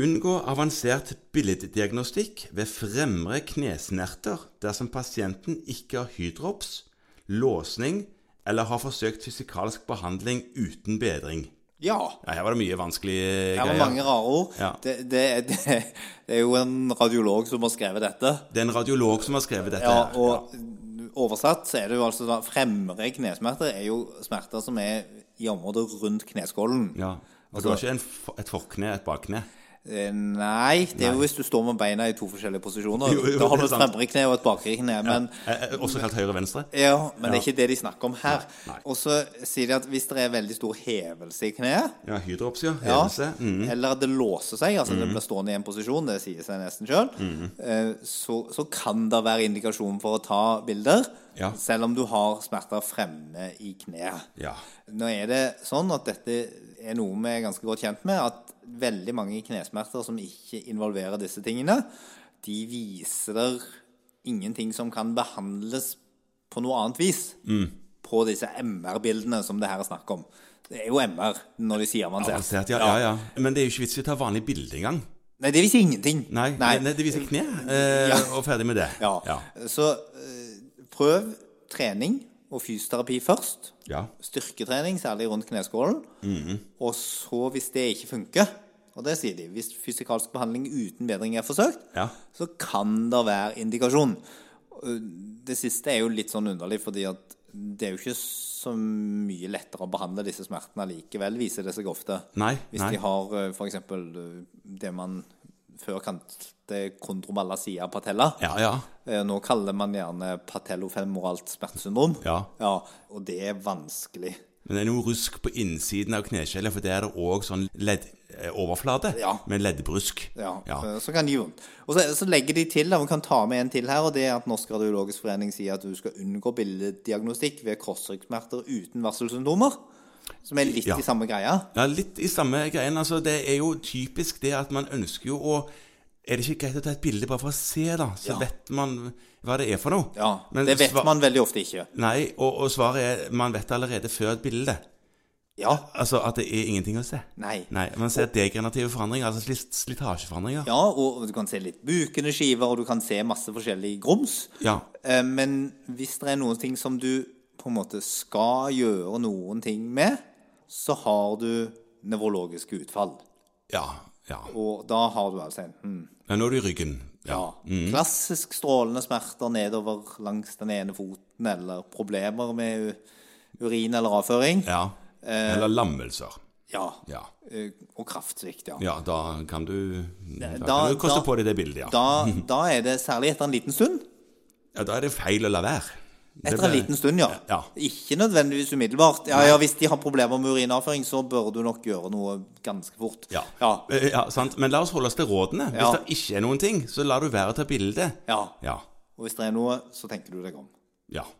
Unngå avansert billeddiagnostikk ved fremre knesnerter dersom pasienten ikke har hydrops, låsning eller har forsøkt fysikalsk behandling uten bedring. Ja. Ja, her var det mye vanskelige Her var greier. mange rare ord. Ja. Det, det, er- det, det er jo en radiolog som har skrevet dette. Det er en radiolog som har skrevet dette. Ja, her. og oversatt så er det jo altså da Fremre knesmerter er jo smerter som er i området rundt kneskålen. ja. Og du har ikke en, f- et forkne, et bakkne. Eh, Nei, det er jo hvis du står med beina i to forskjellige posisjoner. Jo, jo, da har det er du et sant. fremre kne og et bakre kne. Men Eh, eh, Også kalt høyre-venstre. Ja, men det er ikke det de snakker om her. Nei, nei. Og så sier de at hvis det er veldig stor hevelse i kneet, Ja, hydrops, ja. ja, Hevelse. Mm. eller at det låser seg, altså det blir stående i en posisjon, det sier seg nesten sjøl, Mm. så, så kan det være indikasjon for å ta bilder, Ja. selv om du har smerter fremme i kneet. Ja. Nå er det sånn at dette er noe vi er ganske godt kjent med, at veldig mange knesmerter som ikke involverer disse tingene, de viser der ingenting som kan behandles på noe annet vis Mm. på disse MR-bildene som det her er snakk om. Det er jo MR når de sier avansert. Avansert, ja, ja, ja. Men det er jo ikke vits i å ta vanlig bilde engang. Nei, det viser ingenting. Nei, nei, det viser kne, eh, og ferdig med det. Ja. Ja. Så eh, prøv trening og fysioterapi først. ja. styrketrening, særlig rundt kneskålen. Mhm. Og så, hvis det ikke funker, og det sier de, hvis fysikalsk behandling uten bedring er forsøkt, Ja. så kan det være indikasjon. Og Det siste er jo litt sånn underlig, fordi at det er jo ikke så mye lettere å behandle disse smertene likevel, viser det seg ofte. Nei, hvis nei. de har eh, f.eks. det man før kalte kondromalasia patella. Ja, ja. Eh, Nå kaller man gjerne patellofemoralt smertesyndrom. Ja. Og det er vanskelig. Men det er noe rusk på innsiden av kneskjellet, for der er det òg sånn leddoverflate Ja. med leddbrusk. Ja. Ja. eh, Så kan de gi vondt. Og så, så legger de til, da, vi kan ta med en til her, og det er at Norsk radiologisk forening sier at du skal unngå billeddiagnostikk ved korsryggsmerter uten varselsymptomer. Som er litt Ja. i samme greia. Ja, litt i samme greien. Altså, det er jo typisk det at man ønsker jo å Er det ikke greit å ta et bilde bare for å se, da? Så Ja. vet man hva det er for noe. Ja, Men Det vet sva- man veldig ofte ikke. Nei, og, og svaret er man vet allerede før et bilde. Ja. Altså at det er ingenting å se. Nei. Nei, Man ser degenerative forandringer, altså slit slitasjeforandringer. Ja, og du kan se litt bukende skiver, og du kan se masse forskjellig grums. Ja. Eh, Men hvis det er noen ting som du på en måte skal gjøre noen ting med, så har du nevrologiske utfall. Ja. ja. Og da har du altså enten Ja, nå er du i ryggen. Ja. ja, klassisk strålende smerter nedover langs den ene foten, eller problemer med u- urin eller avføring. ja. Eh. Eller lammelser. Ja. Ja. Eh, Og kraftsvikt, ja. ja, da kan du Da, da- kan du koste da- på deg det bildet, ja. Da, da er det særlig etter en liten stund. ja. Da er det feil å la være. Det Etter en ble- liten stund, ja. Ja. Ikke nødvendigvis umiddelbart. Ja, ja, Hvis de har problemer med urinavføring, så bør du nok gjøre noe ganske fort. Ja. ja. Eh, ja, sant. Men la oss holde oss til rådene. Ja. Hvis det ikke er noen ting, så lar du være å ta bilde. Ja. Ja. Og hvis det er noe, så tenker du deg om. ja.